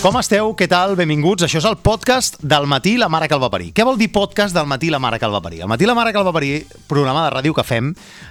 Com esteu? Què tal? Benvinguts. Això és el podcast del matí la mare que el va parir. Què vol dir podcast del matí la mare que el va parir? El matí la mare que el va parir, programa de ràdio que fem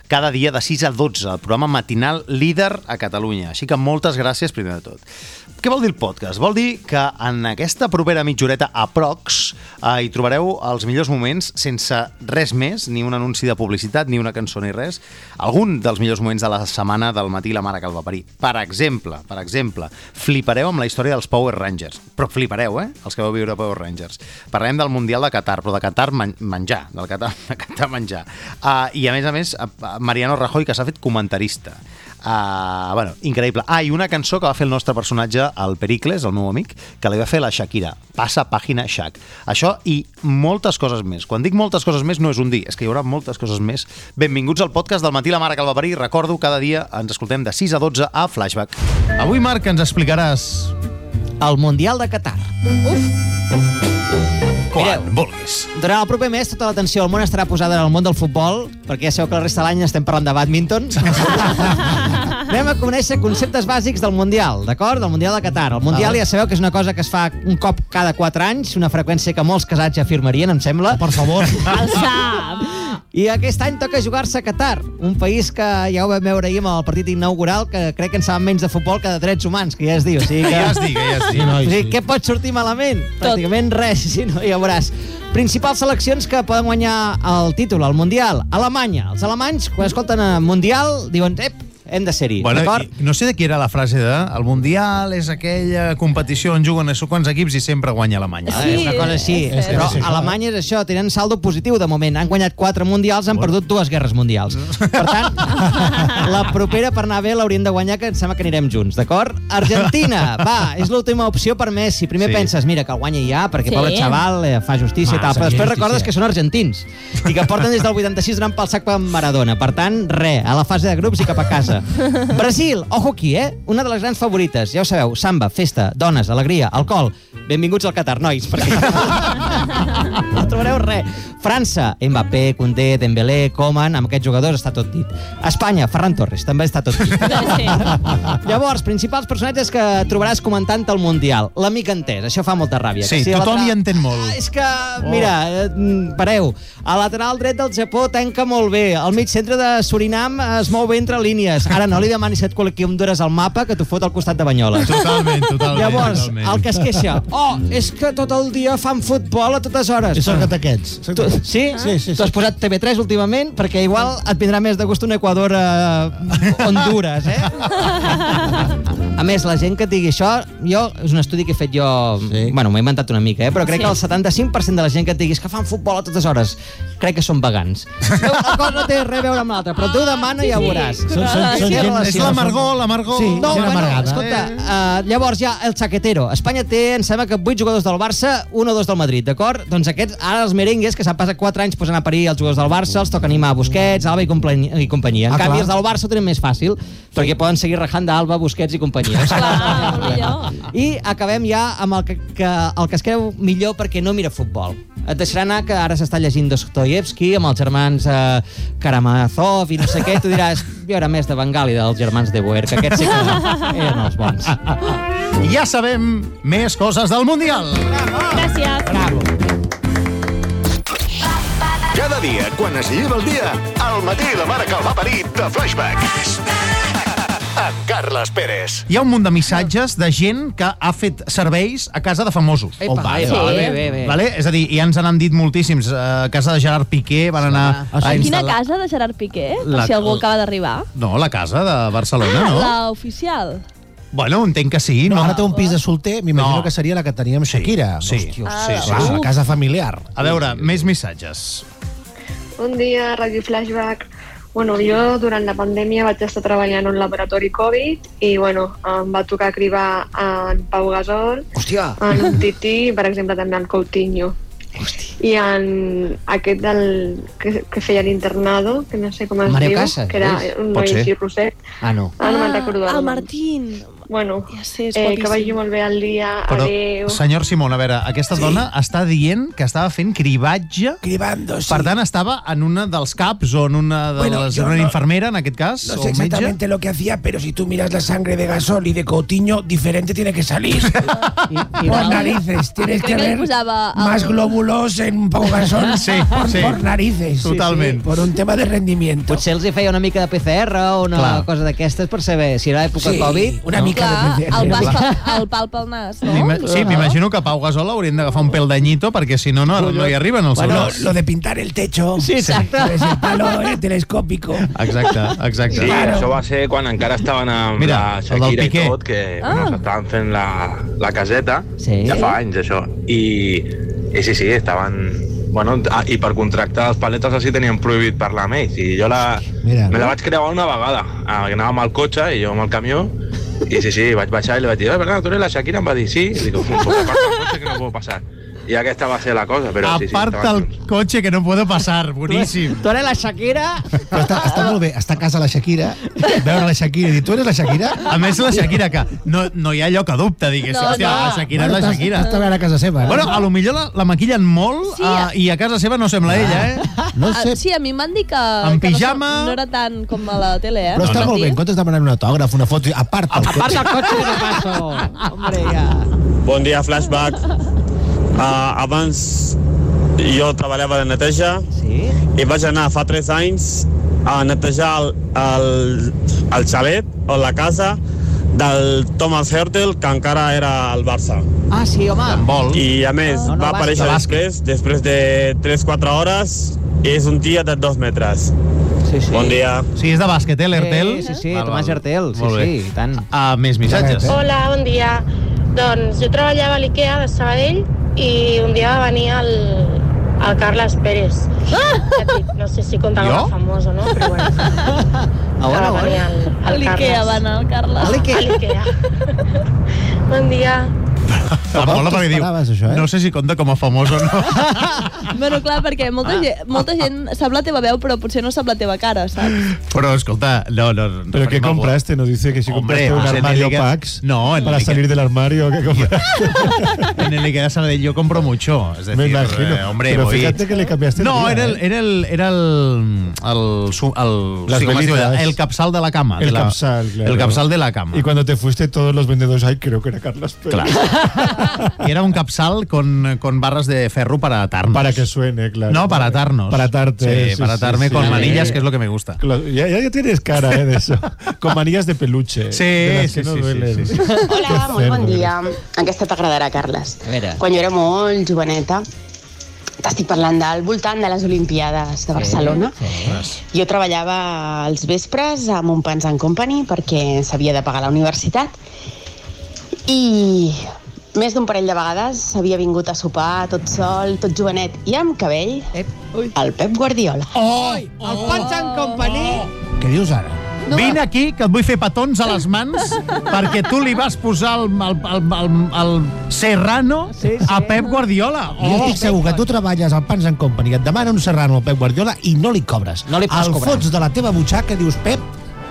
cada dia de 6 a 12, el programa matinal líder a Catalunya. Així que moltes gràcies primer de tot. Què vol dir el podcast? Vol dir que en aquesta propera mitjoreta a Prox eh, hi trobareu els millors moments sense res més, ni un anunci de publicitat, ni una cançó, ni res. Algun dels millors moments de la setmana del matí la mare que el va parir. Per exemple, per exemple, flipareu amb la història dels Power Rangers. Però flipareu, eh? Els que vau viure Power Rangers. Parlem del Mundial de Qatar, però de Qatar men menjar, del Qatar, de Qatar menjar. Uh, I a més a més, uh, Mariano Rajoy, que s'ha fet comentarista. Uh, bueno, increïble. Ah, i una cançó que va fer el nostre personatge, el Pericles, el meu amic, que li va fer la Shakira. Passa pàgina Shak. Això i moltes coses més. Quan dic moltes coses més no és un dir, és que hi haurà moltes coses més. Benvinguts al podcast del Matí la Mare que el va parir. Recordo, cada dia ens escoltem de 6 a 12 a Flashback. Avui, Marc, ens explicaràs el Mundial de Qatar. Quan vulguis. Durant el proper mes, tota l'atenció del món estarà posada en el món del futbol, perquè ja sabeu que la resta de l'any estem parlant de badminton. Anem a conèixer conceptes bàsics del Mundial, d'acord? Del Mundial de Qatar. El Mundial ja sabeu que és una cosa que es fa un cop cada 4 anys, una freqüència que molts casats ja afirmarien, em sembla. Per favor. El sap. I aquest any toca jugar-se a Qatar, un país que ja ho vam veure ahir amb el partit inaugural, que crec que en saben menys de futbol que de drets humans, que ja es diu. O sigui que... Ja es digui, ja es digui. O sigui, què pot sortir malament? Pràcticament res, si no, ja veuràs. Principals seleccions que poden guanyar el títol, el Mundial. Alemanya. Els alemanys, quan escolten eh, Mundial, diuen, ep, hem de ser-hi, Bueno, d'acord? i no sé de qui era la frase de el Mundial és aquella competició on juguen a so quants equips i sempre guanya Alemanya. Eh? Ah, és una cosa així. és Però Alemanya és això, tenen saldo positiu de moment. Han guanyat quatre mundials, han perdut dues guerres mundials. Per tant, la propera per anar bé l'haurien de guanyar, que em sembla que anirem junts, d'acord? Argentina, va, és l'última opció per Messi. Primer Sí. penses, mira, que el guanyi ja, perquè Sí. sí. pobre xaval eh, fa justícia i Va, Ah, tal. Però després seria recordes justícia. que són argentins i que porten des del 86 donant pel sac per Maradona. Per tant, re, a la fase de grups i cap a casa. Brasil, ojo aquí, eh? Una de les grans favorites. Ja ho sabeu, samba, festa, dones, alegria, alcohol. Benvinguts al Qatar, nois, perquè... No trobareu res. França, Mbappé, Condé, Dembélé, Coman, amb aquests jugadors està tot dit. Espanya, Ferran Torres, també està tot dit. Sí. Llavors, principals personatges que trobaràs comentant el Mundial. L'amic entès, això fa molta ràbia. Sí, Que si tothom l'altre- hi entén molt. Ah, és que, mira, eh, mm, pareu, a lateral dret del Japó tanca molt bé, al mig centre de Surinam es mou bé entre línies. Ara no li demanis et col·loqui on dures el mapa, que t'ho fot al costat de Banyoles. Totalment, totalment. Llavors, totalment. el que es queixa, oh, és que tot el dia fan futbol a totes hores. I sóc d'aquests. Sóc Tu, d'aquests. sí? Sí, sí, sí. Tu has posat TV3 últimament perquè igual et vindrà més de gust un Equador a Honduras, eh? A més, la gent que et digui això, jo, és un estudi que he fet jo... Sí. Sí. Bueno, m'ho he inventat una mica, eh? Però crec Sí. sí. que el 75% de la gent que et digui "És que fan futbol a totes hores, crec que són vegans. No, Una cosa no té res a veure amb l'altra, però tu demana i ja veuràs. Són- són- són Sí, gent- relació. És l'amargor, l'amargor. Sí, No, gent bueno, amargada. escolta, uh, llavors ja el xaquetero. Espanya té, em sembla que 8 jugadors del Barça, 1 o 2 del Madrid, d'acord? Doncs aquests, ara els merengues, que s'han passat 4 anys posant a parir els jugadors del Barça, els toca animar a Busquets, Alba i, company i companyia. En Ah, ah, canvi, clar. els del Barça ho tenen més fàcil, perquè poden seguir rajant d'Alba, Busquets i companyia. Clar, molt millor. I acabem ja amb el que, que, el que es creu millor perquè no mira futbol. Et deixarà anar que ara s'està llegint Dostoyevsky amb els germans eh, Karamazov i no sé què, i tu diràs, jo era més de Bengali dels germans de Boer, que aquests sí que eren els bons. Ja sabem més coses del Mundial. Gràcies. Cada dia, quan es lleva el dia, al matí la mare que el va parir de Flashback. Amb Carles Pérez. Hi ha un munt de missatges de gent que ha fet serveis a casa de famosos. Epa, epa, bé, bé, bé. Vale? És a dir, ja ens n'han dit moltíssims. Eh, A casa de Gerard Piqué van anar... Ah, sí? a Quina instal·lar- casa de Gerard Piqué? La- La... Si algú acaba d'arribar. No, la casa de Barcelona, Ah, no? la oficial. Bueno, entenc que sí. No, No, ara té un pis de solter, m'imagino No. que seria la que tenia amb Shakira. Sí, sí, Ah, Hòstia, sí. clar, la casa familiar. A veure, més missatges. Bon dia, Radio Flashback. Bueno, jo durant la pandèmia vaig estar treballant en un laboratori Covid i bueno, em va tocar cribar en Pau Gasol, Hòstia! en un Tití, per exemple també en Coutinho. I en aquest del, que, que feia l'internado, que no sé com es Mario diu, Casas, que era és? un Pot noi ser. així rosset. Ah, no. Ara no me'n recordo el el nom. Martín. Bueno, Ja sé, és eh, que guapíssim. vagi molt bé el dia. Però, Adéu. senyor Simón, a veure, aquesta sí. dona està dient que estava fent cribatge Cribando, sí. Per tant, estaba en una dels CAPs o en una de Bueno, les- yo en una no- infermera, en aquest cas, No o sé metge. exactamente lo que hacía, pero si tú miras la sangre de Gasol y de Coutinho, diferente tiene que salir. I, Por igual, narices, tienes Creo que Ah, que le ver pusaba a- más glóbulos en Pau Gasol. Sí, por, sí. por narices. Totalment. Por un tema de rendimiento. potser els hi feia una mica de PCR o una Clar. cosa d'aquestes per saber si era època Sí, Covid. una mica Clar, de PCR. el, pas pel, el pal pel nas, no? M'ima- Sí, m'imagino que Pau Gasol haurien d'agafar un pèl d'anyito perquè si no, no, no hi arriben els Bueno, seus. lo de pintar el techo. Sí, exacto. Es el palo eh, telescópico. Exacte, exacte. Sí, Claro. claro. això va ser quan encara estaven amb Mira, Mira, la el del Shakira i Piqué. tot, que ah. bueno, s'estaven fent la, la caseta, Sí. ja fa anys això, i, i sí, sí, estaven... Bueno, ah, i per contractar els paletes així tenien prohibit parlar amb ells, i jo la, Mira. me la vaig creuar una vegada, Ah, que anava amb el cotxe i jo amb el camió, i sí, sí, vaig baixar i li vaig dir, eh, perdona, tu eres la Shakira? Em va dir, sí, i dic, "Fu, puc apartar el cotxe que no puc passar. I aquesta va ser la cosa, però sí, sí, Aparta estaven junts. el coche que no puedo pasar, boníssim. Tu eres la Shakira? Però està, està molt bé, estar a casa la Shakira, veure la Shakira i dir, tu eres la Shakira? A més, la Shakira, que no, no hi ha lloc a dubte, diguéssim. No, Hòstia, no. la Shakira és la T'has- Shakira. T'has de veure a casa seva. eh? Bueno, a lo millor la, la maquillen molt Sí. eh, i a casa seva no sembla ella, eh? no Ah, sé, Sí, a mi em van dir que... En que no som- pijama. No, era tant com a la tele, eh? però està Sí. molt bé, en comptes de demanar un autògraf, una foto, a part del Aparta cotxe. el cotxe que no passo. Hombre, ja. Bon dia, Flashback. Uh, abans jo treballava de neteja Sí? i vaig anar fa 3 anys a netejar el, el, el xalet o la casa del Thomas Hertel, que encara era al Barça. Ah, sí, home. Vol. I a més, No, no, va bàsquet, aparèixer bàsquet. després, després de 3-4 hores, i és un tia de 2 metres. Sí, sí. Bon dia. Sí, és de bàsquet, eh, l'Hertel? Sí, sí, sí, Tomàs Hertel, sí, sí, i tant. Ah, més missatges. Hola, Hola, bon dia. Doncs jo treballava a l'IKEA de Sabadell i un dia va venir el, el Carles Pérez. Ah! Ja et dic, No sé si compta Jo? com a famós o no, però bueno. A on, a va venir on? el, A el l'Ikea va Carles. anar el A Carles. A l'Ikea. l'IKEA. bon dia. Em mola perquè diu, Esperaves això, eh? no sé si compta com a famós o no. Bueno, clar, perquè molta, gent, molta gent sap la teva veu, però potser no sap la teva cara, saps? Però, escolta, no, no... no ¿Pero qué farem algo. compraste? Nos dice que si Hombre, compraste un pues en el armario Ikea- Pax No, en para el Ikea- salir del armario. ¿Qué compraste? En el Ikea de Sabadell yo compro mucho. Es decir, Me imagino. eh, hombre, Pero voy- fíjate que le cambiaste No, día, era el, ¿eh? era el, era el, el, su- el, Las sí, com es diu, velitas. el capsal de la cama. de El la- capsal, claro. El capsal de la cama. Y cuando te fuiste, todos los vendedores, ay, creo que era Carlos Pérez. Claro. Y era un capsal con, con barras de ferro para atarnos. Para que suene, claro. No, para atarnos. Para atarte. Sí, para atarme con sí. manillas, que es lo que me gusta. Lo- Ya, ya- ya tienes cara eh, de eso. Con manillas de peluche. Sí, de las que sí, no sí, sí, duelen. sí, sí. Hola, Que molt bon cerdo. dia. Aquesta t'agradarà, Carles. A veure. Quan jo era molt joveneta, t'estic parlant del voltant de les Olimpiades de Barcelona. Jo treballava als vespres a Montpans and Company perquè s'havia de pagar la universitat i més d'un parell de vegades havia vingut a sopar tot sol, tot jovenet i amb cabell Ep. el Pep Guardiola. El Punch and Company. Què dius ara? No. Vine aquí, que et vull fer petons a les mans perquè tu li vas posar el, el, el, el, el Serrano sí, Sí, sí. sí. a Pep Guardiola. Oh. Jo estic segur que tu treballes al Pans en Company, et demana un serrano al Pep Guardiola i no li cobres. No li pots al cobrar. fots de la teva butxaca dius, Pep,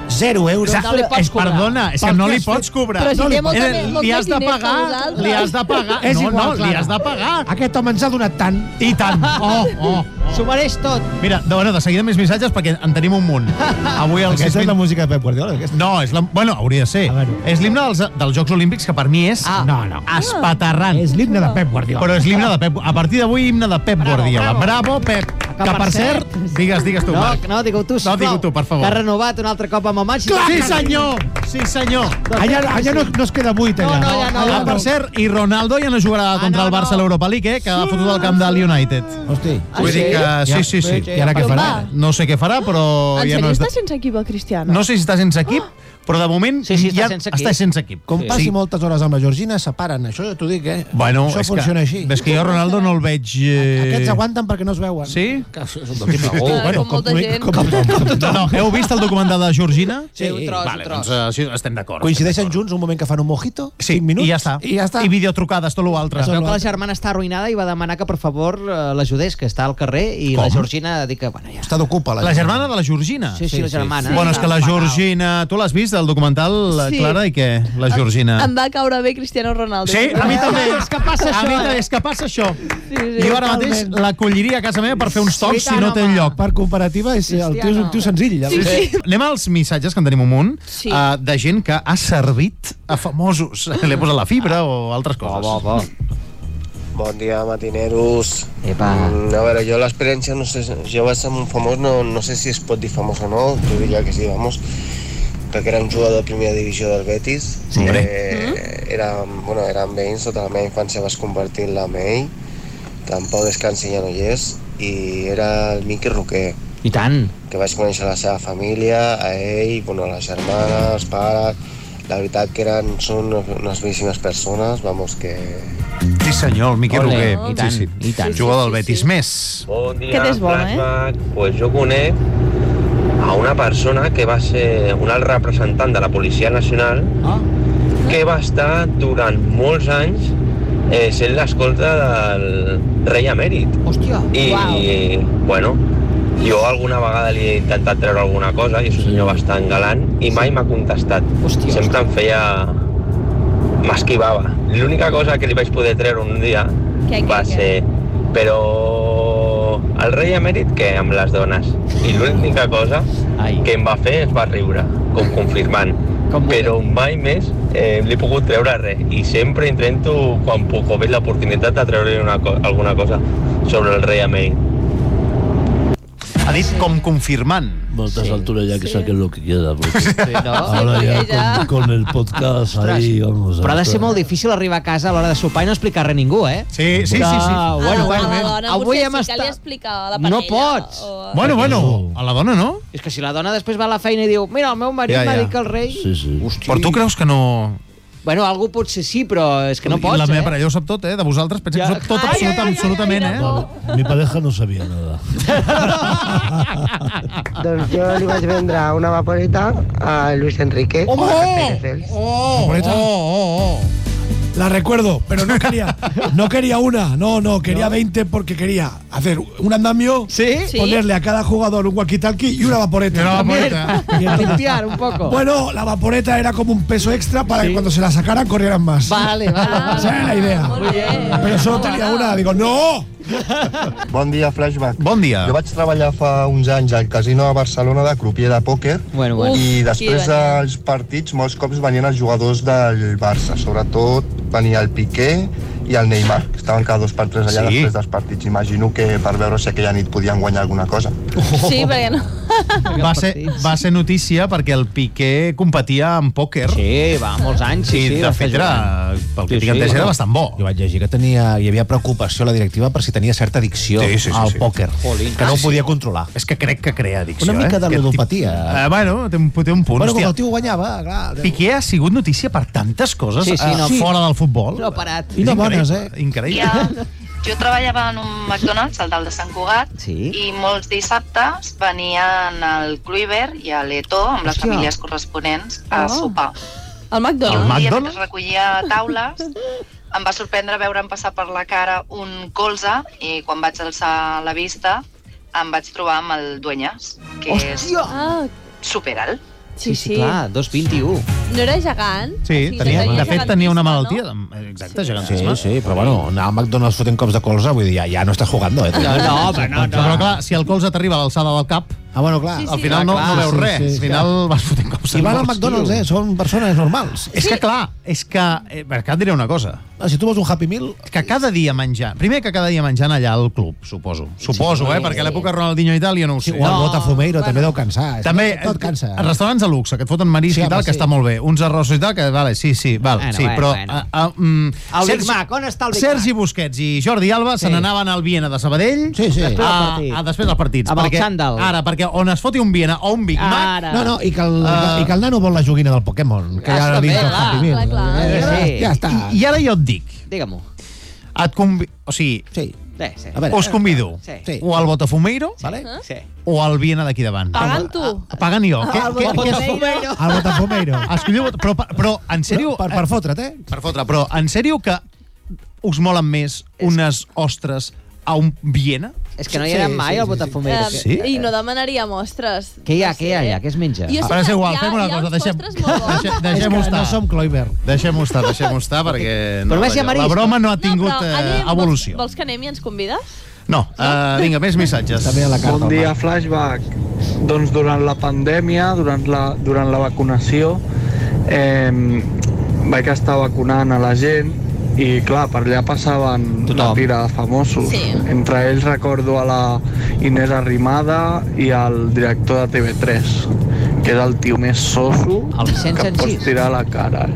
0 euros. Sa- No li pots és, cobrar. perdona, és Per que no què li has pots cobrar. Però si no té molta Era- me- molts li més has de diners que pagar, vosaltres. li has de pagar. És no, igual, no, li Clara. has de pagar. Aquest home ens ha donat tant. I tant. Oh, oh, oh. S'ho mereix tot. Mira, de, bueno, de seguida més missatges perquè en tenim un munt. Avui el Aquesta és la música de Pep Guardiola. Aquesta. No, és la... Bueno, hauria de ser. A veure. És l'himne dels, dels Jocs Olímpics, que per mi és Ah. No, no. espaterrant. És l'himne de Pep Guardiola. Però és l'himne de Pep... A partir d'avui, himne de Pep Guardiola. Bravo, Pep. Que, per per cert... Digues, digues tu, No, Marc. no, digue-ho tu, sisplau. digue-ho tu, per favor. Que ha renovat un altre cop amb el matx. Sí, senyor! Sí, senyor! Allà, allà no, no es queda buit, allà. No, no, ja no. Ah, per cert, i Ronaldo ja no jugarà contra no, el Barça a no. l'Europa League, eh, que ha fotut el camp del United. Hosti. Vull dir que sí, sí, sí. I ara què Però farà? va. No sé què farà, però Oh, en ja sèrio no està està... sense equip el Cristiano? No sé si està sense equip, però de moment Sí, sí, està ja sense equip. està sense equip. Com passi moltes hores amb la Georgina, separen. Això ja t'ho dic, eh? Bueno, Això és funciona que, així. És que jo Ronaldo no el veig... Eh... Aquests aguanten perquè no es veuen. Doncs Sí? Ah, bueno, com molta gent. Com... No, no. Heu vist el documental de Georgina? Sí, un tros, vale, un tros. doncs eh, sí, estem d'acord. Coincideixen junts un moment que fan un mojito, Sí, 5 minuts, i ja està. I ja està. I videotrucades, tot l'altre. Veu que la germana està arruïnada i va demanar que, per favor, eh, l'ajudés, que està al carrer i Com? la Georgina ha dit que, bueno, ja... Està d'ocupa, La germana de la Georgina? Sí, sí, la germana. Bueno, és que la Georgina... Tu l'has vist, el documental, eh, Sí. Clara, i què? La Georgina. Em va caure bé Cristiano Ronaldo. Sí, a mi també. És que passa A això, mi també, eh? és que passa això. Sí, sí. jo ara mateix Totalment. l'acolliria a casa meva per fer uns tocs Sí, si no té home. lloc. Per comparativa, és, el tio és un tio senzill. Sí, sí. Eh, Anem als missatges que en tenim un munt Sí. eh, de gent que ha servit a famosos. Li ha posat la fibra o altres coses. Bo, bo, bo. Bon dia, matineros. Epa. Mm, a veure, jo l'experiència, no sé, jo vaig ser un famós, no, no sé si es pot dir famós o no, jo diria que sí, vamos, perquè era un jugador de primera divisió del Betis. Sí. Hombre. Eh, era, bueno, érem veïns, tota la meva infància vas compartir la amb ell, tampoc descansi ja no hi és, i era el Miqui Roquer, I tant. que vaig conèixer la seva família, a ell, bueno, a la germana, els pares, la veritat que eren, són unes bellíssimes persones, vamos, que Sí, senyor, el Miqui Ole, Roquer. i tant, sí, sí. i tant. Jugador del Betis més. Bon dia, Que t'és bo, eh? Flashback. Pues jo conec a una persona que va ser un alt representant de la Policia Nacional ah. que va estar durant molts anys eh, sent l'escolta del rei emèrit. Hòstia, I, i, bueno, jo alguna vegada li he intentat treure alguna cosa i és un senyor bastant galant i mai m'ha contestat. Hòstia, Sempre em feia... m'esquivava. L'única cosa que li vaig poder treure un dia Què, què, va què? ser... Però el rei emèrit que amb les dones. I l'única cosa Ai. que em va fer es va riure, com confirmant. Com però mai més eh, li he pogut treure res i sempre intento quan puc o veig l'oportunitat de treure una co alguna cosa sobre el rei emèrit. Ha dit com confirmant. Moltes alturas ya que saquen lo que quieran. porque Ahora Sí, ya, porque ya- Ah, Con, con el podcast ahí, vamos. Però ha de hasta- ser molt difícil arribar a casa a l'hora de sopar i no explicar res a ningú, eh? Sí, sí, sí, sí. Ah, bueno, Ah, bueno, a la Dona, avui potser hem sí que li estat... explica a la No parella. pots! Bueno, bueno, a la dona no? És que si la dona després va a la feina i diu mira, el meu marit ja, Ja, ja. ja. m'ha dit que el rei... Sí, sí. Però tu creus que no... Bueno, algú potser sí, però és que no pots, La meva eh? parella ho sap tot, eh? De vosaltres pensa que ho sap tot absoluta, absolutament, eh? Mi pareja no sabía nada. Ah, Doncs jo li vaig vendre una vaporeta a Luis Enrique. Oh, oh, oh, La recuerdo, pero no quería, no quería una, no, no, quería 20 porque quería hacer un andamio, Sí. ponerle a cada jugador un walkie-talkie y una vaporeta. Una vaporeta. Y entonces- Limpiar un poco. Bueno, la vaporeta era como un peso extra para que cuando se la sacaran corrieran más. Vale, vale. Esa era la idea. Pero solo tenía una, digo, no. Bon dia, Flashback. Bon dia. Jo vaig treballar fa uns anys al casino de Barcelona de crupier de pòquer bueno, bueno. i Uf, després qui venia? dels partits molts cops venien els jugadors del Barça, sobretot venia el Piqué i el Neymar, que estaven cada dos per tres allà Sí. després dels partits. Imagino que per veure si aquella nit podien guanyar alguna cosa. Oh. Sí, perquè no... Va ser, va ser notícia perquè el Piqué competia en pòquer. Sí, va, molts anys, sí, I sí, de va fet, estar era, pel que tinc entès, era bastant bo. Jo vaig llegir que tenia, hi havia preocupació a la directiva per si tenia certa addicció Sí, sí, sí, al sí. pòquer, Jolín. que Ah, no ho sí. podia controlar. És que crec que crea addicció, Una eh? mica de Aquest ludopatia. tip- Eh, bueno, té un, té un punt. Bueno, com hòstia. el tio guanyava, clar... Piqué ha sigut notícia per tantes coses Sí, sí, sí, sí, no. no, fora del futbol. No ha parat. És I no increïble, bones, eh? Increïble. Jo treballava en un McDonald's, al dalt de Sant Cugat, Sí. i molts dissabtes venien al Kluiver i a l'Eto amb les Hòstia. famílies corresponents a Ah. sopar. Al I McDonald's. un dia mentre recollia taules em va sorprendre veure'm passar per la cara un colze i quan vaig alçar la vista em vaig trobar amb el Dueñas, que Hòstia! és superalt. Sí, sí. Clar, 2,21. No era gegant? Sí, tenia, de fet, tenia una malaltia. de- eh, Exacte, Sí, gegantisme. sí, però bueno, anar al McDonald's fotent cops de colze, vull dir, ja, ja no estàs jugando, eh? Però clar, si el colze t'arriba a l'alçada del cap, Ah, bueno, clar. Sí, sí. Ah, al final no- no veus res. Al final vas fotent cops de I van al colze. McDonald's, eh? Són persones normals. És que clar, és que... Eh, perquè et diré una cosa. Ah, si tu vols un Happy Meal... És que cada dia menjant... Primer que cada dia menjant allà al club, suposo. Suposo, Sí. eh? Perquè a l'època Ronaldinho i tal jo no ho sé. O el Botafumeiro, també deu cansar. és que També, tot- Tot cansa. eh. Els restaurants de luxe, que et foten marisc Sí, sí, i home, tal, que sí. està molt bé. Uns arrossos i tal, que vale, sí, sí, val, Bueno, sí, bueno, però... bueno. A, a, mm, El Big Mac, on està el Big Sergi Busquets i Jordi Alba Sí. sí. se n'anaven al Viena de Sabadell sí, sí. Ah, Després del a, partit. a, Ah, després dels partits. Amb el perquè, xandall. Ara, perquè on es foti un Viena o un Big Mac... eh, No, no, i que, el, i que el nano vol la joguina del Pokémon, que Ah, ja està dins bé, del clar, Happy Meal. clar, clar. Eh, Sí. Ja està. I, I ara jo et dic... Digue-m'ho. Et convi... O sigui... Sí. Sí, sí. A veure, us convido Sí. o al Botafumeiro vale? Sí. Ah, o al Viena d'aquí davant. Pagant tu. Pagant jo. Al Què- què- què- Botafumeiro. Al Botafumeiro. Escolliu, Bota- però, però en sèrio... Per, per fotre't, eh? Per fotre, però en sèrio que us molen més unes ostres a un Viena? És que no hi era mai al Botafumeiro. Eh, I no demanaríem ostres. Què hi ha, què hi ha allà? Què es menja? Jo sé Ah, Però és que igual, hi ha- fem una hi ha cosa, uns deixem- postres molt bons. Deixe- Deixem-ho estar. Cloiber. Deixem-ho estar, deixem-ho estar, perquè... Però només hi ha la, la marisc. broma no ha tingut Però, eh, Adri, vols- evolució. Vols que anem i ens convides? No, eh, vinga, més missatges. Bon dia, Flashback. Doncs durant la pandèmia, durant la, durant la vacunació, eh, vaig estar vacunant a la gent i, clar, per allà passaven Tothom. la pira de famosos. Sí. Entre ells recordo a la Inés Arrimada i al director de TV3, que era el tio més soso que et pots tirar a la cara.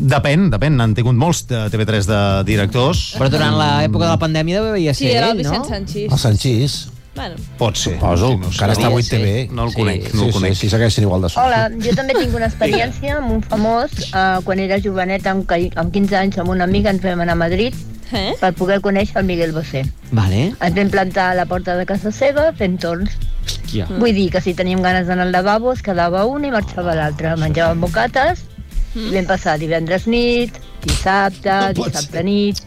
Depèn, depèn. N'han tingut molts de TV3 de directors. Però durant l'època de ah, la pandèmia devia veia Sí, ser era el ell, Eh, no? Vicent Sanchís. El Sanchís. Bueno. Pot ser. Poso, no encara està a 8 TV. No el conec, no el conec. Sí, sí, segueixen igual de sol. Hola, jo també tinc una experiència amb un famós. Eh, quan era joveneta, amb, que- amb 15 anys, amb una amiga ens vam anar a Madrid eh? per poder conèixer el Miguel Bosé. Vale. Ens vam plantar a la porta de casa seva fent torns. Hòstia. Mm. Vull dir que si teníem ganes d'anar al lavabo es quedava un i marxava l'altre. Menjàvem bocates, i vam passar divendres nit, dissabte, dissabte nit,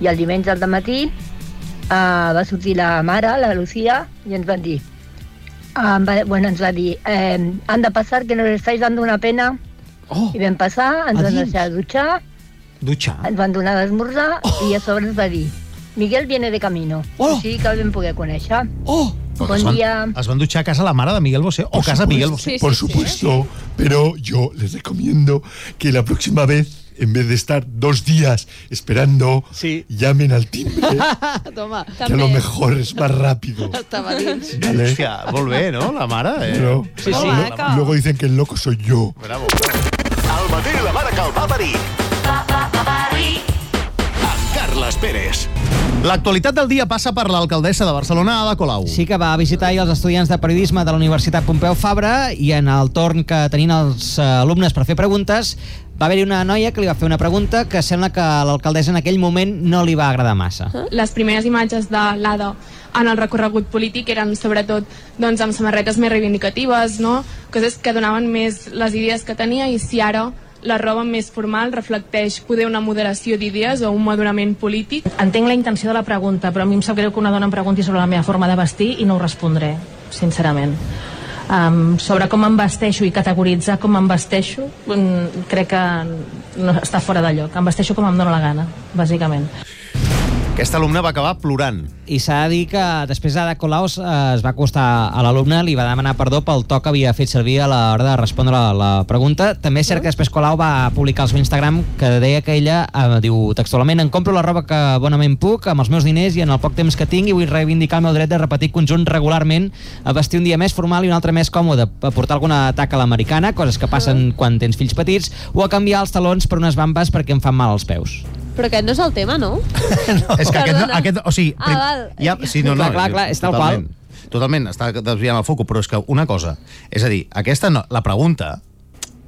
i el diumenge al matí uh, va sortir la mare, la Lucía, i ens van dir, uh, va, bueno, ens va dir, eh, han de passar que nos estáis dando una pena, oh. i vam passar, ens A van dins. deixar dutxar, Dutxar. Ah. ens van donar d'esmorzar oh. i a sobre ens va dir Miguel viene de camino, oh. així que el vam poder conèixer. Oh. Porque Bon es van- dia. Es van dutxar a casa la mare de Miguel Bosé o casa Miguel Bosé. Sí, sí, Por supuesto, pero yo les recomiendo que la próxima vez, en vez de estar dos días esperando, llamen al timbre, Toma. que a lo mejor es más rápido. Estava dins. ¿vale? Hòstia, molt bé, no, la mare? Eh? Claro. Sí, sí. Y Luego dicen que el loco soy yo. Bravo. Al matí la mare que el va parir. Amb Carles Pérez. L'actualitat del dia passa per l'alcaldessa de Barcelona, Ada Colau. Sí que va visitar ahir els estudiants de periodisme de la Universitat Pompeu Fabra i en el torn que tenien els eh, alumnes per fer preguntes va haver-hi una noia que li va fer una pregunta que sembla que a l'alcaldessa en aquell moment no li va agradar massa. Les primeres imatges de l'ADA en el recorregut polític eren sobretot doncs, amb samarretes més reivindicatives, no? coses que donaven més les idees que tenia i si ara la roba més formal reflecteix poder una moderació d'idees o un madurament polític. Entenc la intenció de la pregunta, però a mi em sap greu que una dona em pregunti sobre la meva forma de vestir i no ho respondré, sincerament. Um, sobre com em vesteixo i categoritzar com em vesteixo, um, crec que no, està fora de lloc. Em vesteixo com em dóna la gana, bàsicament. Aquesta alumna va acabar plorant. I s'ha de dir que després Ada Colau es, es va acostar a l'alumne, li va demanar perdó pel to que havia fet servir a l'hora de respondre la, la pregunta. També és cert que després Colau va publicar al seu Instagram que deia que ella eh, diu textualment em compro la roba que bonament puc amb els meus diners i en el poc temps que tinc i vull reivindicar el meu dret de repetir conjunt regularment a vestir un dia més formal i un altre més còmode, a portar alguna taca a l'americana, coses que passen quan tens fills petits, o a canviar els talons per unes bambes perquè em fan mal als peus. Però aquest no és el tema, no? És que aquest, no- Perdona. aquest, o sigui, Ah, prim- val. ja, sí, no, no, Eh, Clar, clar, clar, és tal totalment, Totalment, està desviant el foco, però és que una cosa, és a dir, aquesta no, la pregunta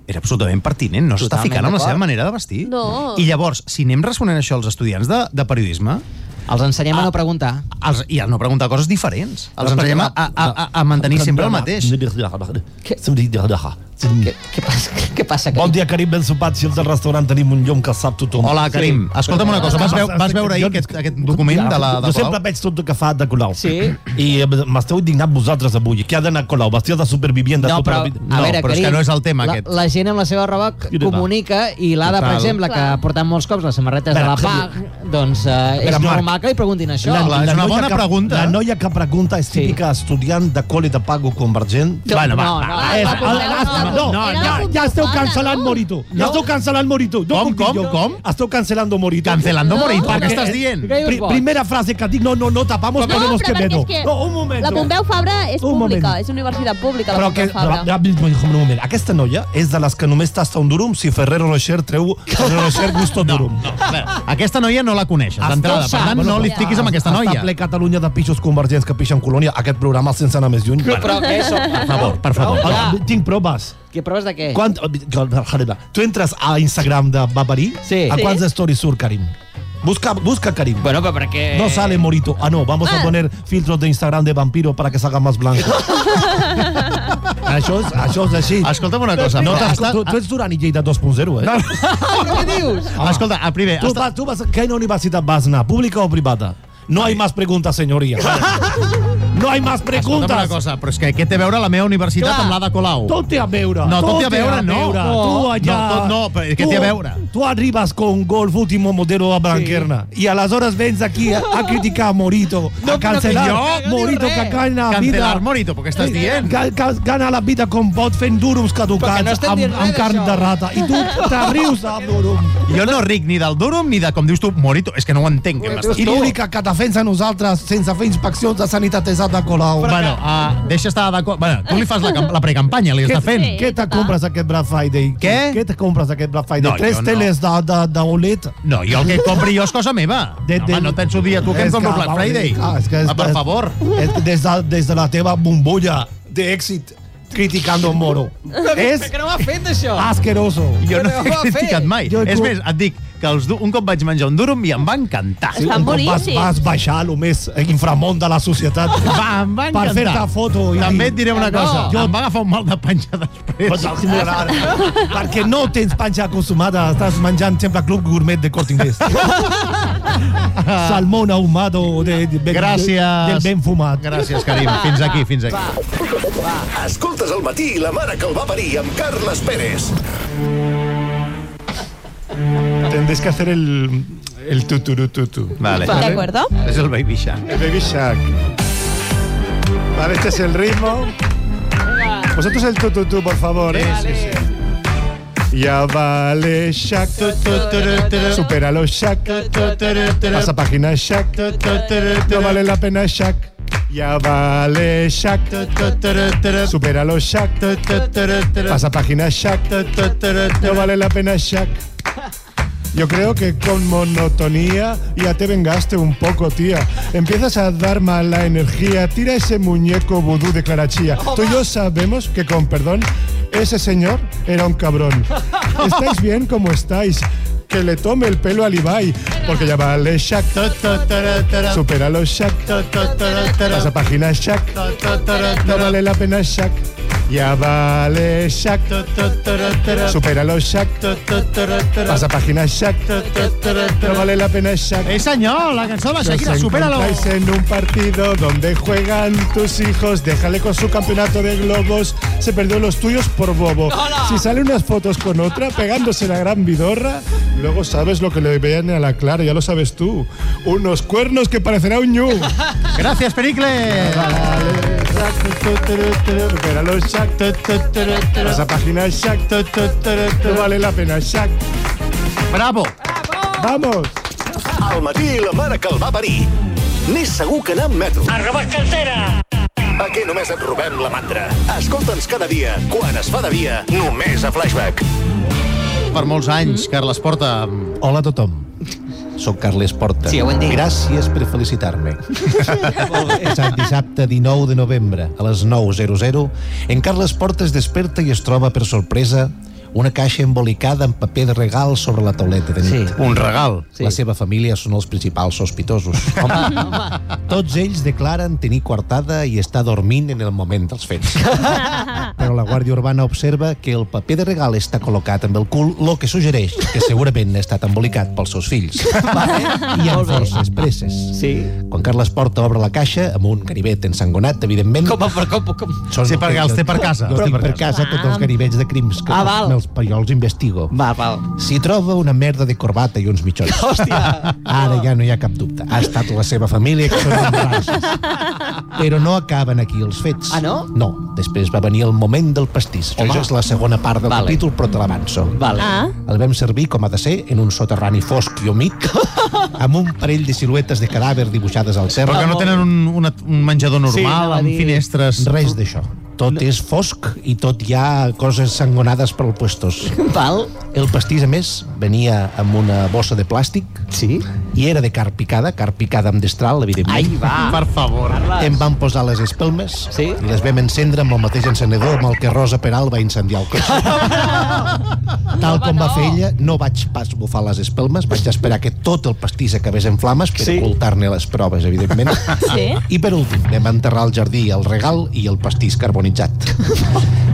era absolutament pertinent, no s'està Totalment ficant amb la d'acord. seva manera de vestir. No. I llavors, si anem responent això als estudiants de, de periodisme... Ah, Els ensenyem a no preguntar. Els, I a no preguntar coses diferents. Els ensenyem a, a, a, a mantenir sempre el mateix. Què, què passa? Què passa, Bon dia, Karim, ben sopat. Si els del restaurant tenim un llom que sap tothom. Hola, Karim. Escolta'm una cosa, vas veu- vas veure ahir aquest- aquest document de la- de Jo Colau? sempre veig tot el que fa de Colau. Sí. I eh, m'esteu indignat vosaltres avui, que ha d'anar a Colau, vestida de supervivient, de No, però, supervi- a veure, Carin, la, La gent amb la seva roba c- Quina comunica i l'Ada, per Total. exemple, que ha portat molts cops les samarretes de Però, la Javier, PAG, doncs eh, és Però, Marc, normal que li preguntin això. noia que, La noia que pregunta és típica sí. estudiant de col·le de pago convergent. No, Bueno, va, no, va, no, va. És- la puntada, no, no, no, era ja, la ja esteu cancel·lant Morito. Ja esteu cancel·lant Morito. No com, com, com? Esteu cancel·lando Morito. Cancelando No. Morito, Perquè què estàs dient? Pri primera frase que dic, no, no, no, tapamos, No, però ponemos que perquè medo. és que No, un moment. la Pompeu Fabra és Un moment. pública, és universitat pública, la Però que, Pompeu Fabra. ja, ja, un moment, aquesta noia és de les que només tasta un durum si Ferrero Rocher treu Ferrero Rocher gusto durum. No, no, Aquesta noia no la coneixes, d'entrada. Per tant, no li fiquis amb aquesta Està noia. ple Catalunya de pixos convergents que pixen colònia. Aquest programa sense anar més lluny. Però, però, què som? Per favor, per favor. Però, Ah, Tinc proves. Que proves de què? Quant, Jareba, tu entres a Instagram de Babarí? Sí. A Sí. quants stories surt Karim? Busca, busca Karim. Bueno, pero para qué... No sale Morito. Ah, no, vamos a poner filtros de Instagram de vampiro para que salga más blanco. això, és, això és així. Escolta'm una cosa, No, però t'has- està- tu, tu ets Duran i Lleida 2.0, eh? No. Què dius? Escolta, el primer... Tu, vas, tu vas, a quina universitat vas anar? Pública o privada? No hay más preguntas, señoría. No hay más preguntes. Escolta'm una cosa, però és que què té a veure la meva universitat Clar. amb l'Ada Colau? Tot té a veure. No, tot té a veure, no. No. Tu allà... No, tot no, però què té a veure? Tu arribes con Golf último modelo a Blanquerna i aleshores vens aquí a, a criticar Morito, No, a cancelar però que jo no diu Morito, res. que gana vida... Cancelar Morito, però què estàs Eh, dient? Ga, ga, gana la vida con bot fent durums caducats no estem amb, dient res amb carn d'això. de rata. I tu te rius del durum. Jo no ric ni del Durum ni de, com dius tu, Morito. És que no ho entenc, què m'estàs I dient. l'única que defensa nosaltres sense fer inspeccions de sanitat és Ada Colau. Bueno, uh, deixa estar d'acord. Bueno, tu li fas la, cam- la precampanya, li Què- està fent. Què te compres aquest Black Friday? Què? Què te compres aquest Black Friday? No, Tres jo no. teles de, de, de OLED? No, jo el que compri jo és cosa meva. De, de, Home, no et penso dir a tu que em És compro Black va, Friday. clar, és que és- Ah, per favor. És que des, de, des de la teva bombolla d'èxit criticando Moro. és Que no m'ha fet, això? asqueroso. Jo no Però t'he ho va fer. criticat mai. Jo- És més, et dic que els, du- un cop vaig menjar un durum i em va encantar. Sí, un cop Vas, vas baixar el més inframont de la societat Va, em va per encantar. fer-te foto. I... També et diré una No. cosa. Jo- Em va agafar un mal de panxa després. Pots ignorar, perquè no tens panxa acostumada, estàs menjant sempre Club Gourmet de Corte Inglés. Salmón ahumado de, de, de, Gràcies. del ben fumat. Gràcies, Karim. Fins aquí, fins aquí. Escoltes al matí la mare que el va parir amb Carles Pérez. Tendréis que hacer el, el tuturututu. Vale. ¿De acuerdo? És el Baby Shark. El Baby Shark. Vale, este es el ritmo. Vosotros el tututú, por favor, ¿eh? Ya vale, Shaq. Supera los Shaq. Pasa página Shaq. No vale la pena Shaq. Ya vale Shaq. Supera los Shaq. Pasa página Shaq. No vale la pena Shaq. Yo creo que con monotonía ya te vengaste un poco, tía. Empiezas a dar mala energía. Tira ese muñeco vudú de Clarachía. Tú y yo sabemos que, con perdón, ese señor era un cabrón. ¿Estáis bien como estáis? Que le tome el pelo al Ibai, porque ya vale Shaq. Supera los Shaq. Pasa página Shaq. No vale la pena Shaq. Ya vale Shaq. Supera los Shaq. Pasa página Shaq. No vale la pena Shaq. Eh, senyor, la cançó de la Shakira, Los supera-lo. encontráis en un partido donde juegan tus hijos. Déjale con su campeonato de globos. Se perdió los tuyos por bobo. Si sale unas fotos con otra pegándose la gran vidorra, luego sabes lo que le vean a la Clara, ya lo sabes tú. Unos cuernos que parecerá un ñu. Gràcies, Pericle. Supera los Shaq. Esa página Shaq. No vale la pena Shaq. Bravo. Vamos. Al matí la mare que el va parir. N'és segur que anar amb metro. A robar cartera! Aquí només et robem la mantra. Escolta'ns cada dia, quan es fa de dia, només a Flashback. Per molts anys, Carles Porta. Hola a tothom. Soc Carles Porta. Sí, ho hem dit. Gràcies per felicitar-me. Passat dissabte 19 de novembre a les 9.00, en Carles Porta es desperta i es troba per sorpresa una caixa embolicada amb paper de regal sobre la tauleta de nit. Sí. Un regal. Sí. La seva família són els principals sospitosos. Home, tots ells declaren tenir coartada i estar dormint en el moment dels fets. Però la Guàrdia Urbana observa que el paper de regal està col·locat amb el cul, lo que suggereix que segurament ha estat embolicat pels seus fills. I amb forces presses. Sí. Quan Carles Porta obre la caixa, amb un ganivet ensangonat, evidentment... Com, per, com, com? Sí, perquè els té per casa. Jo Els té tinc per per casa. casa tots els Ah. ganivets de crims que Ah, ah, val. els, jo els investigo. Va, val. S'hi troba una merda de corbata i uns mitjons. Hòstia! Ara ja no hi ha cap dubte. Ha estat la seva família que són embarasses. Però no acaben aquí els fets. Ah, no? No. Després va venir el moment del pastís. Home. Això és la segona part del Vale. vale. capítol, però te l'avanço. Vale. Ah. El vam servir, com ha de ser, en un soterrani fosc i humit, amb un parell de siluetes de cadàver dibuixades al terra. Però que no tenen un, una, un menjador normal, amb finestres... Res d'això. Tot no. és fosc i tot hi ha coses sangonades pel puestos. Val. El pastís, a més, venia amb una bossa de plàstic. Sí. I era de carn picada, carn picada amb destral, evidentment. Ai, va. Per favor. Carles. Em van posar les espelmes, sí? les vam encendre amb el mateix encenedor amb el que Rosa Peral va incendiar el cotxe. Tal com va fer ella, no vaig pas bufar les espelmes, vaig esperar que tot el pastís acabés en flames per sí. ocultar-ne les proves, evidentment. Sí. I per últim, vam enterrar al jardí el regal i el pastís carbonitzat.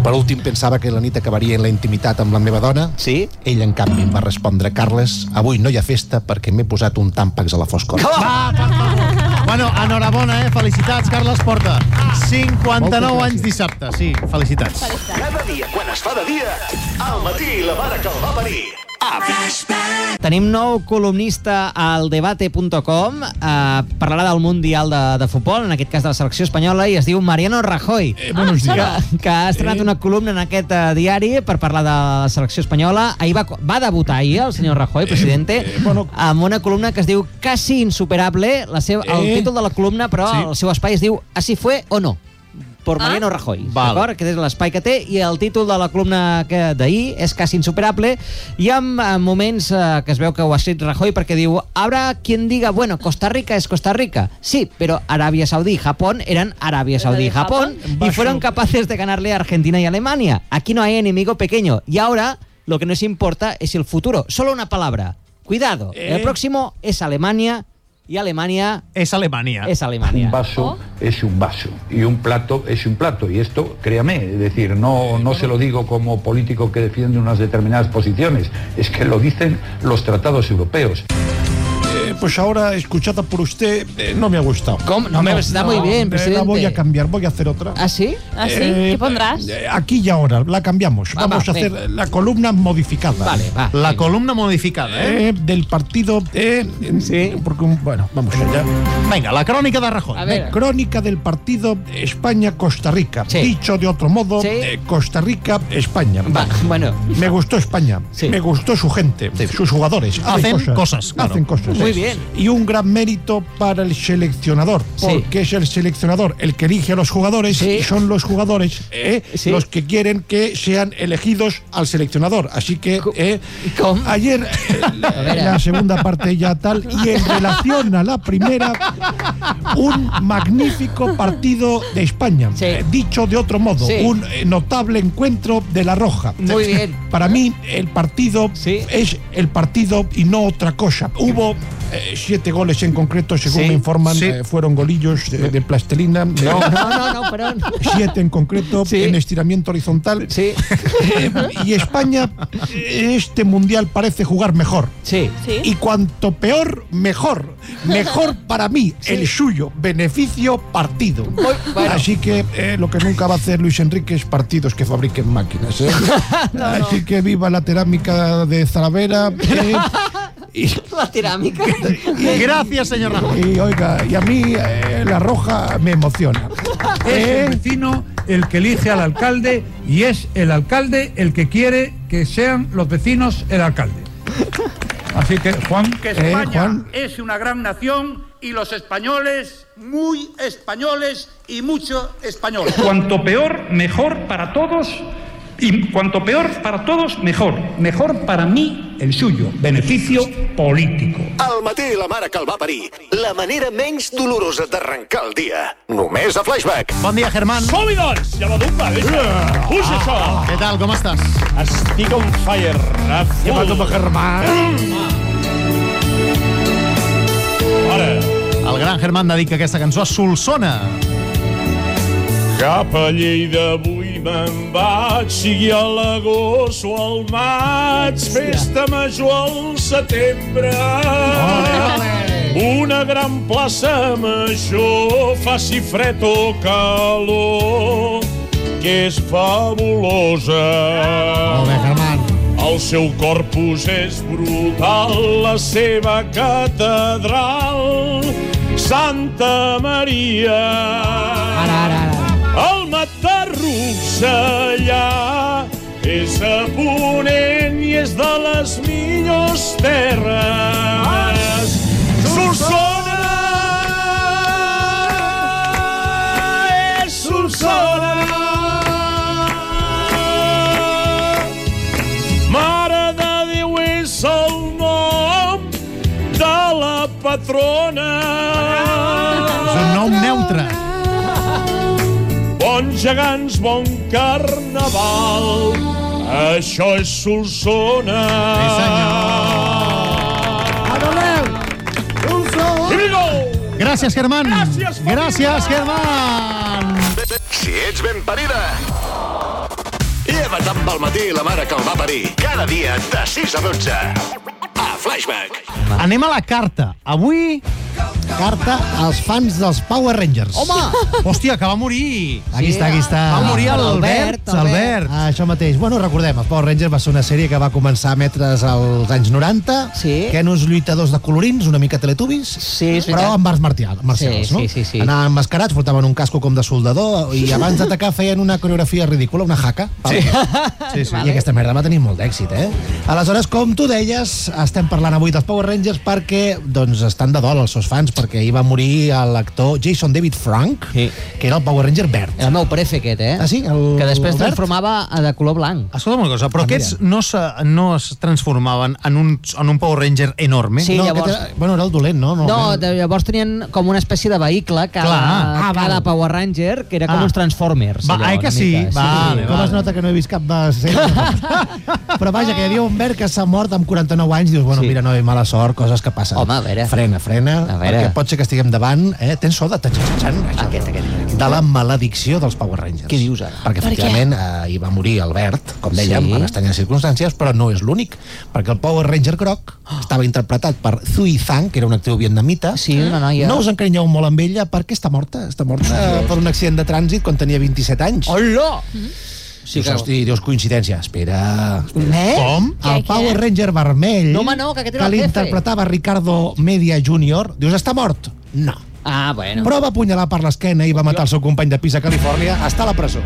Per últim, pensava que la nit acabaria en la intimitat amb la meva dona. Sí? Ell, en canvi, em va respondre, Carles, avui no hi ha festa perquè m'he posat un tàmpax a la foscor. Va, per favor. Bueno, enhorabona, eh? Felicitats, Carles Porta. Ah. 59 anys dissabte, sí. Felicitats. Cada dia, quan es fa de dia, al matí la mare que el va parir. A Flashback. Tenim nou columnista al debate.com. Eh, parlarà del Mundial de, de Futbol, en aquest cas de la selecció espanyola, i es diu Mariano Rajoy. Eh, buenos Ah, días. Que, que ha estrenat una columna en aquest eh, diari per parlar de la selecció espanyola. Ahir va, va debutar ahir el senyor Rajoy, presidente, bueno, amb una columna que es diu Casi insuperable. La seva, el Eh. títol de la columna, però Sí. sí. el seu espai es diu Así fue o no por Mariano Rajoy, d'acord? Aquest és l'espai que té i el títol de la columna que d'ahir és quasi insuperable i amb eh, moments eh, que es veu que ho ha escrit Rajoy perquè diu habrá quien diga, bueno, Costa Rica és Costa Rica. Sí, però Aràbia Saudí i Japón eren Aràbia Saudí i Japón y fueron capaces de ganarle a Argentina y Alemania. Aquí no hay enemigo pequeño. Y ahora lo que nos importa es el futuro. Solo una palabra. Cuidado. El próximo es Alemania y Alemania es Alemania. Es Alemania. Un vaso es un vaso y un plato es un plato. Y esto, créame, es decir, no, no se lo digo como político que defiende unas determinadas posiciones, es que lo dicen los tratados europeos. Eh, pues ahora, escuchada por usted, eh, no me ha gustado. ¿Cómo? No, me está muy bien, eh, La presidente. voy a cambiar, voy a hacer otra. ¿Ah, sí? ¿Ah, sí? Eh, ¿Qué pondrás? eh, Aquí y ahora, la cambiamos. Va, Vamos va, a hacer venga. la columna modificada. Vale, va, La venga. columna modificada, eh? Eh, del partido... eh, sí. Porque, un- bueno, vamos allá. Venga, la crònica de Rajoy. La Eh, crónica del partido España-Costa Rica. Dicho de otro modo, eh, Costa Rica-España. bueno. Me gustó España. Me gustó su gente, sus jugadores. Hacen cosas, cosas. claro. Hacen cosas. Muy bien. Y un gran mérito para el seleccionador, Sí. porque es el seleccionador el que elige a los jugadores y son los jugadores eh, los que quieren que sean elegidos al seleccionador. Así que eh, ayer eh, la, la segunda parte ya tal y en relación a la primera un magnífico partido de España. Eh, dicho de otro modo, Sí. un eh, notable encuentro de la Roja. Muy bien. Para mí, el partido es el partido y no otra cosa. Hubo eh, siete goles en concreto, según Sí, me informan, sí. eh, fueron golillos de, de plastilina. No, no, no, no, perdón. Siete en concreto en estiramiento horizontal. Sí. y España, este mundial parece jugar mejor. Sí. Y cuanto peor, mejor. Mejor para mí, el suyo. Beneficio partido. bueno. Así que eh, lo que nunca va a hacer Luis Enrique es partidos que fabriquen máquinas. ¿eh? Así que viva la cerámica de Zalavera. eh, y, La cerámica. Gracias, señor Rajoy. y oiga, y a mí eh, la roja me emociona. Eh. Es el vecino el que elige al alcalde y es el alcalde el que quiere que sean los vecinos el alcalde. Así que, Juan, que eh, España Juan, es una gran nación y los españoles muy españoles y mucho españoles. cuanto peor, mejor para todos. Y cuanto peor para todos, mejor. Mejor para mí, el suyo. Beneficio político. Al matí la mare que el va parir. La manera menys dolorosa d'arrencar el dia. Només a Flashback. Bon dia, Germán. Ah, Som-hi, doncs! Ja va d'umba, vinga! Puja, això! Què tal, com estàs? Estic on fire. A full. va d'umba, Germán. Ara, El gran Germán dedica aquesta cançó a Solsona. cap a Lleida avui me'n vaig, sigui a l'agost o al maig, festa major al setembre. Una gran plaça major, faci fred o calor, que és fabulosa. Molt bé, Germán. El seu corpus és brutal, la seva catedral, Santa Maria. Ara, ara, ara. El Matarrucs allà és a Ponent i és de les millors terres. Solsona! És Solsona! Mare de Déu és el nom de la patrona. És un nom neutre. Bons gegants, bon carnaval, això és Solsona. Sí, senyor. Adoleu! Solsona! Here we go! Gràcies, Germán. Gràcies, Gràcies Germán. Si ets ben parida, lleva't amb el matí la mare que el va parir. Cada dia de 6 a 12. A Flashback. Anem a la carta. Avui carta als fans dels Power Rangers. Home! Hòstia, que va morir! Aquí està, aquí està. Va morir l'Albert. Albert. Ah, això mateix. Bueno, recordem, els Power Rangers va ser una sèrie que va començar a emetre's als anys 90, sí. que eren uns lluitadors de colorins, una mica teletubis, sí, és però veritat. amb arts martial, marcials, Sí, no? sí, sí, sí. Anaven mascarats, portaven un casco com de soldador, i abans d'atacar feien una coreografia ridícula, una jaca. Sí. Sí, sí. I aquesta merda va tenir molt d'èxit, eh? Aleshores, com tu deies, estem parlant avui dels Power Rangers perquè doncs, estan de dol els seus fans, perquè hi va morir l'actor Jason David Frank, sí. que era el Power Ranger verd. El meu prefe aquest, eh? Ah, sí? El, Que després el verd? transformava a de color blanc. Escolta'm una cosa, però Ah, mira. aquests no, se, no es transformaven en un, en un Power Ranger enorme? Sí, No, llavors- aquest era, bueno, era el dolent, no? No, de, llavors tenien com una espècie de vehicle cada, Clar. ah, Ah, cada Power Ranger, que era com Ah. uns Transformers. allò, una mica. Com es nota que no he vist cap de sèrie? Però vaja, que hi havia un verd que s'ha mort amb 49 anys, dius, bueno, sí. mira, no, mala sort, coses que passen. Home, a veure. Frena, frena, a veure. perquè pot ser que estiguem davant, eh? Tens so de tatxatxan, aquest, aquest, aquest, de la maledicció dels Power Rangers. Què dius ara? Perquè, Per què? efectivament, eh, hi va morir Albert, com dèiem, Sí. sí. en estranyes circumstàncies, però no és l'únic, perquè el Power Ranger groc estava interpretat per Thuy Thang, que era una actriu vietnamita. Ah. Sí, una noia. No us encarinyeu molt amb ella perquè està morta, està morta eh, per un accident de trànsit quan tenia 27 anys. Hola! Sí, dius, hosti, dius, coincidència. Espera. espera. Eh? Com? Què, El què? Power Ranger vermell, No, home, no, que aquest era que el jefe. l'interpretava Ricardo Media Jr., dius, està mort? No. Ah, bueno. Però va apunyalar per l'esquena i va matar el seu company de pis a Califòrnia. Està a la presó.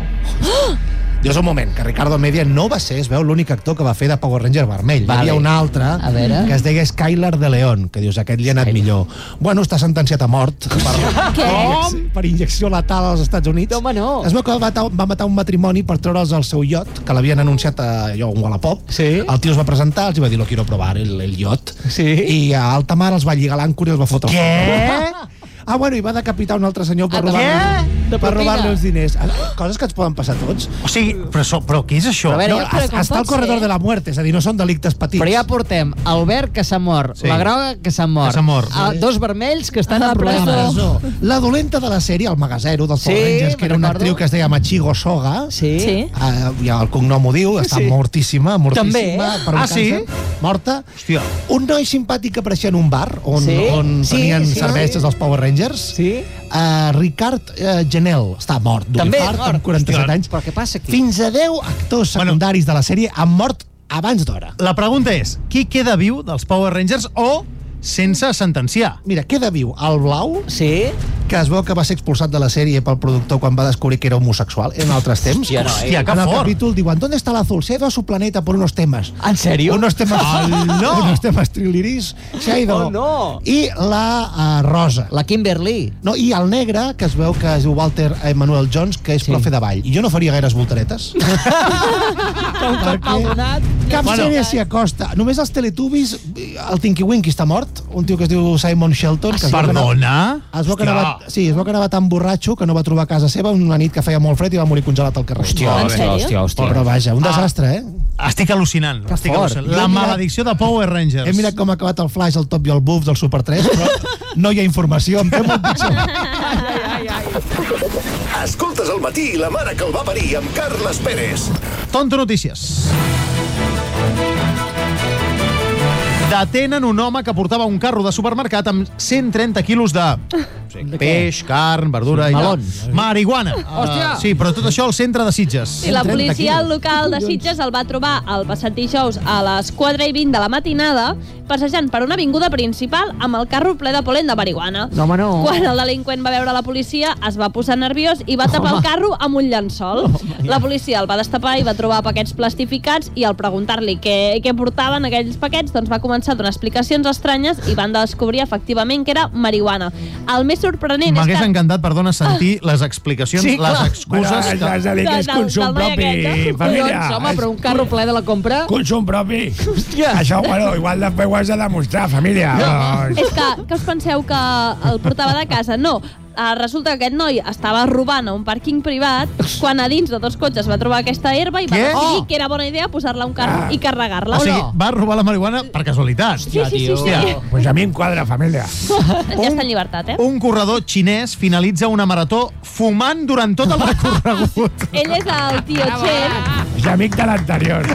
Dius, un moment, que Ricardo Media no va ser, es veu, l'únic actor que va fer de Power Ranger vermell. Hi Vale. havia un altre A veure. que es deia Skylar de León, que dius, aquest li ha anat millor. Bueno, està sentenciat a mort per, Què? Com? per injecció letal als Estats Units. Home, no. Es veu que va, ta- va matar un matrimoni per treure'ls al seu iot, que l'havien anunciat a allò, un Wallapop. Sí. El tio es va presentar, els va dir, lo quiero probar, el, el iot. Sí. I a alta mar els va lligar l'àncora i els va fotre. Què? Ah, bueno, i va decapitar un altre senyor per Eh? Ah, què? robar-li De per propina. robar els diners. Ah, Coses que ens poden passar a tots. O sigui, però, so, però què és això? A veure, No, ja, però es- com està pot al corredor ser? de la muerte, és a dir, no són delictes petits. Però ja portem Albert, que s'ha mort, Sí. sí. la Groga, que s'ha mort, Que s'ha mort. a, dos vermells que estan a, problemes. presó. Ah, La dolenta de la sèrie, el Magasero, dels Power Sí, Rangers, que me'n era una recordo. actriu que es deia Machigo Soga, sí. Sí. Uh, ja el cognom ho diu, està Sí. sí. mortíssima, mortíssima. També, eh? Per un Ah, sí? càncer, Morta. Hòstia. Un noi simpàtic que apareixia en un bar on, Sí? sí? on Sí, tenien sí, sí, cerveses sí. dels Power Rangers. Sí. Uh, Ricard uh, Genel està mort d'un També infart, mort. amb 47 Hòstia. anys. Però què passa aquí? Fins a 10 actors secundaris bueno. de la sèrie han mort abans d'hora. La pregunta és, qui queda viu dels Power Rangers o sense sentenciar? Mira, queda viu el Blau, sí. que es veu que va ser expulsat de la sèrie pel productor quan va descobrir que era homosexual en altres temps. Hòstia, eh? eh? noi. Hòstia, que en el fort. capítol diuen, ¿dónde está el azul? Se ha ido a su planeta por unos temas. ¿En serio? Unos temas, Ah, no. unos temas triliris. Se ha ido. Oh, no. I la uh, Rosa. La Kimberly. No, i el negre, que es veu que es diu Walter Emanuel Jones, que és sí. profe de ball. I jo no faria gaires voltaretes. Cap bueno, sèrie s'hi acosta. Només els Teletubbies, el Tinky Winky està mort, un tio que es diu Simon Shelton. Que es veu que anava- Perdona? Es veu, que Hòstia. anava, sí, es veu que anava tan borratxo que no va trobar a casa seva una nit que feia molt fred i va morir congelat al carrer. Hòstia, En hòstia, sèrio? hòstia, hòstia. Però vaja, un Ah. desastre, eh? Estic al·lucinant. Que Estic fort. al·lucinant. La Jo he mirat- maledicció de Power Rangers. He mirat com ha acabat el Flash, el Top i el Buff del Super 3, però no hi ha informació, em temo el pitjor. Escoltes al matí la mare que el va parir amb Carles Pérez. Tonto Notícies. Detenen un home que portava un carro de supermercat amb 130 quilos de peix, carn, verdura Sí, i melon. tal. marihuana. Hòstia. Sí, però tot això al centre de Sitges. I la policia local de Sitges el va trobar el passat dijous a les 4 i 20 de la matinada passejant per una avinguda principal amb el carro ple de polen de marihuana. No, home, no. Quan el delinqüent va veure la policia, es va posar nerviós i va tapar el carro amb un llençol. La policia el va destapar i va trobar paquets plastificats i al preguntar-li què, què portaven aquells paquets, doncs va començar a donar explicacions estranyes i van descobrir efectivament que era marihuana. El més sorprenent és M'hagués que... encantat, perdona, sentir les explicacions, Ah. Sí, clar. les excuses... Bueno, que- has de dir que és Del- del consum noi propi, aquest, eh? Collons, home, però un carro ple de la compra... Consum propi. Hòstia. Això, bueno, igual després ho has de demostrar, família. Doncs- És que, que us penseu que el portava de casa? No, eh, resulta que aquest noi estava robant a un pàrquing privat quan a dins de dos cotxes va trobar aquesta herba i va Què? Oh! decidir Ah. que era bona idea posar-la a un carro i carregar-la. O sigui, va robar la marihuana per casualitat. Sí, sí, sí, sí. Hòstia, Pues a mi em quadra, família. ja està en llibertat, eh? Un corredor xinès finalitza una marató fumant durant tot el recorregut. Ell és el tio Chen. És amic de l'anterior.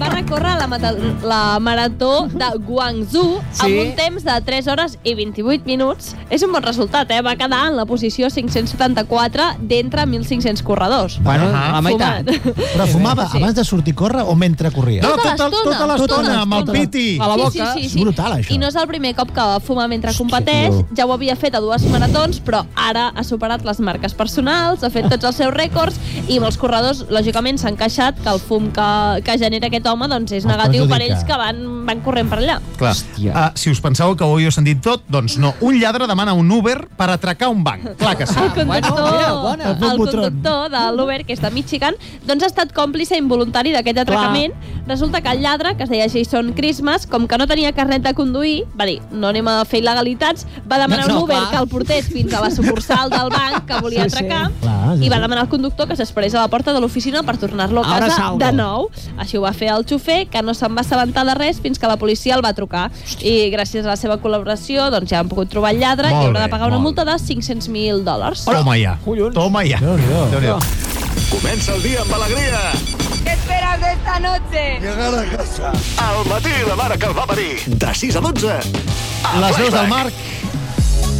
Va recórrer la, mata- la marató de Guangzhou Sí. amb un temps de 3 hores i 28 minuts. És un bon resultat, eh? Va quedar en la posició 574 d'entre 1.500 corredors. Bueno, la Fumat. meitat. Però fumava sí. abans de sortir a córrer o mentre corria? No, Tota tota- l'estona, tota l'estona, tota amb el l'estona. piti. A la Sí, boca. sí, sí, sí. És brutal, això. I no és el primer cop que fuma mentre competeix, tio. ja ho havia fet a dues maratons, però ara ha superat les marques personals, ha fet tots els seus rècords i molts corredors, lògicament, s'han queixat que el fum que, que genera aquest home doncs, Els és negatiu per perjudica. ells que van, van corrent per allà. Clar. Uh, si us penseu que ho heu sentit tot, doncs no. Un lladre demana un Uber per atracar un banc. Clar que sí. El conductor, bueno, El el bombotron. conductor de l'Uber, que és de Michigan, doncs ha estat còmplice involuntari d'aquest atracament. Resulta que el lladre, que es deia Jason Christmas, com que no tenia carnet de conduir, va dir, no anem a fer il·legalitats, va demanar No, un Uber clar. que el portés fins a la sucursal del banc que volia Sí, sí. atracar Clar, sí, i va sí. demanar al conductor que s'esperés a la porta de l'oficina per tornar-lo a Ahora casa salgo. de nou. Així ho va fer el xofer, que no se'n va assabentar de res fins que la policia el va trucar. I gràcies a la seva col·laboració doncs, ja han pogut trobar el lladre Molt i haurà bé, de pagar una molt multa de 500.000 dòlars. Toma ja. Toma ja. Déu-n'hi-do. Comença el dia amb alegria. ¿Qué esperas de esta noche? Llegar a casa. Al matí, la mare que el va parir. De 6 a 12. A Les veus del Flashback. Marc.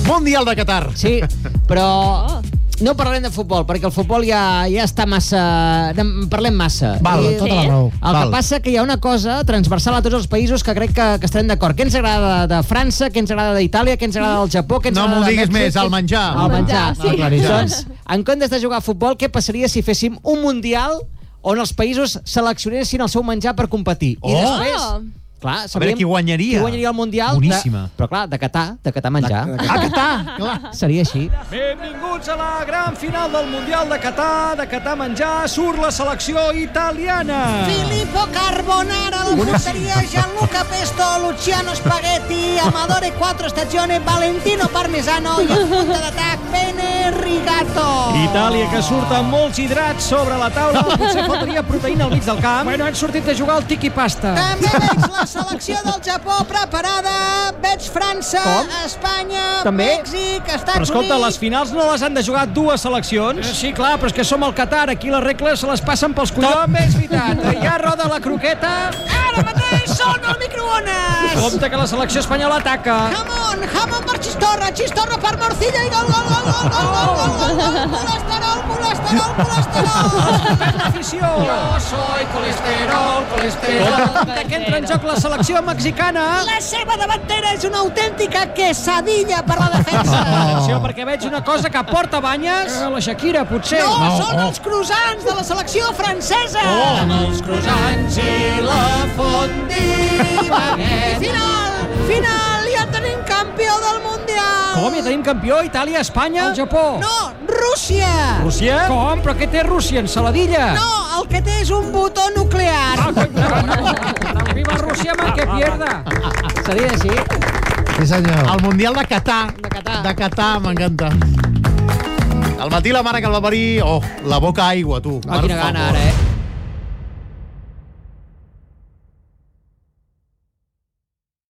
Mundial de Qatar. Oh. Sí, però... No parlarem de futbol, perquè el futbol ja, ja està massa... En parlem massa. Val, I- tota la raó. El Val. que passa que hi ha una cosa transversal a tots els països que crec que, que estarem d'acord. Què ens agrada de França, què ens agrada d'Itàlia, què ens agrada del Japó, què ens No agrada m'ho de diguis Mèxic, més, què- el menjar. El El menjar, menjar, sí. sí. Aclarit. Doncs, en comptes de jugar a futbol, què passaria si féssim un mundial on els països seleccionessin el seu menjar per competir? Oh! I després... Clar, A veure qui guanyaria. Qui guanyaria el Mundial. Boníssima. De, però clar, de Catà, de Catà menjar. De, de, de, de, Ah, Clar. Seria així. Benvinguts a la gran final del Mundial de Qatar. De Qatar menjar surt la selecció italiana. Filippo Carbonara, la porteria Gianluca Pesto, Luciano Spaghetti, Amadore 4 Stagione, Valentino Parmesano i en punta d'atac Bene Rigato. Itàlia que surt amb molts hidrats sobre la taula. Potser faltaria proteïna al mig del camp. Bueno, han sortit a jugar al tiqui pasta. També veig la selecció del Japó preparada, veig França, Com? Espanya, També? Mèxic, Estats Però escolta, les Units... finals no les han de jugar dues seleccions? Eh, Sí, clar, però és que som al Qatar, aquí les regles se les passen pels collons. També és veritat, ja roda la croqueta. Ara mateix són al microones! Compte que la selecció espanyola ataca. Jamón, jamón per Chistorra, Chistorra per Morcilla i gol, gol, gol, gol, gol, gol, gol, gol, gol, colesterol, colesterol, colesterol. Afició. Jo soy colesterol, colesterol. Compte que entra en joc la selecció mexicana. La seva davantera és una autèntica quesadilla per la defensa. Atenció, perquè veig una cosa que porta banyes. Eh, La Shakira, potser. No, són els croissants de la selecció francesa. Oh. Són els croissants i la fondibaguet. Final, final, ja tenim campió del Mundial. Com? Ja tenim campió? Itàlia, Espanya? El Japó. No, Rússia. Rússia? Com? Però què té Rússia? Ensaladilla? No, el que té és un botó Ah, nuclear. Viva Rússia, man, que pierda. Ah, Seria així. Sí, senyor. El Mundial de Qatar. De Qatar. De Qatar, m'encanta. Al matí la mare que el va parir... Oh, la boca aigua, tu. Ah, quina Per favor. gana ara, eh?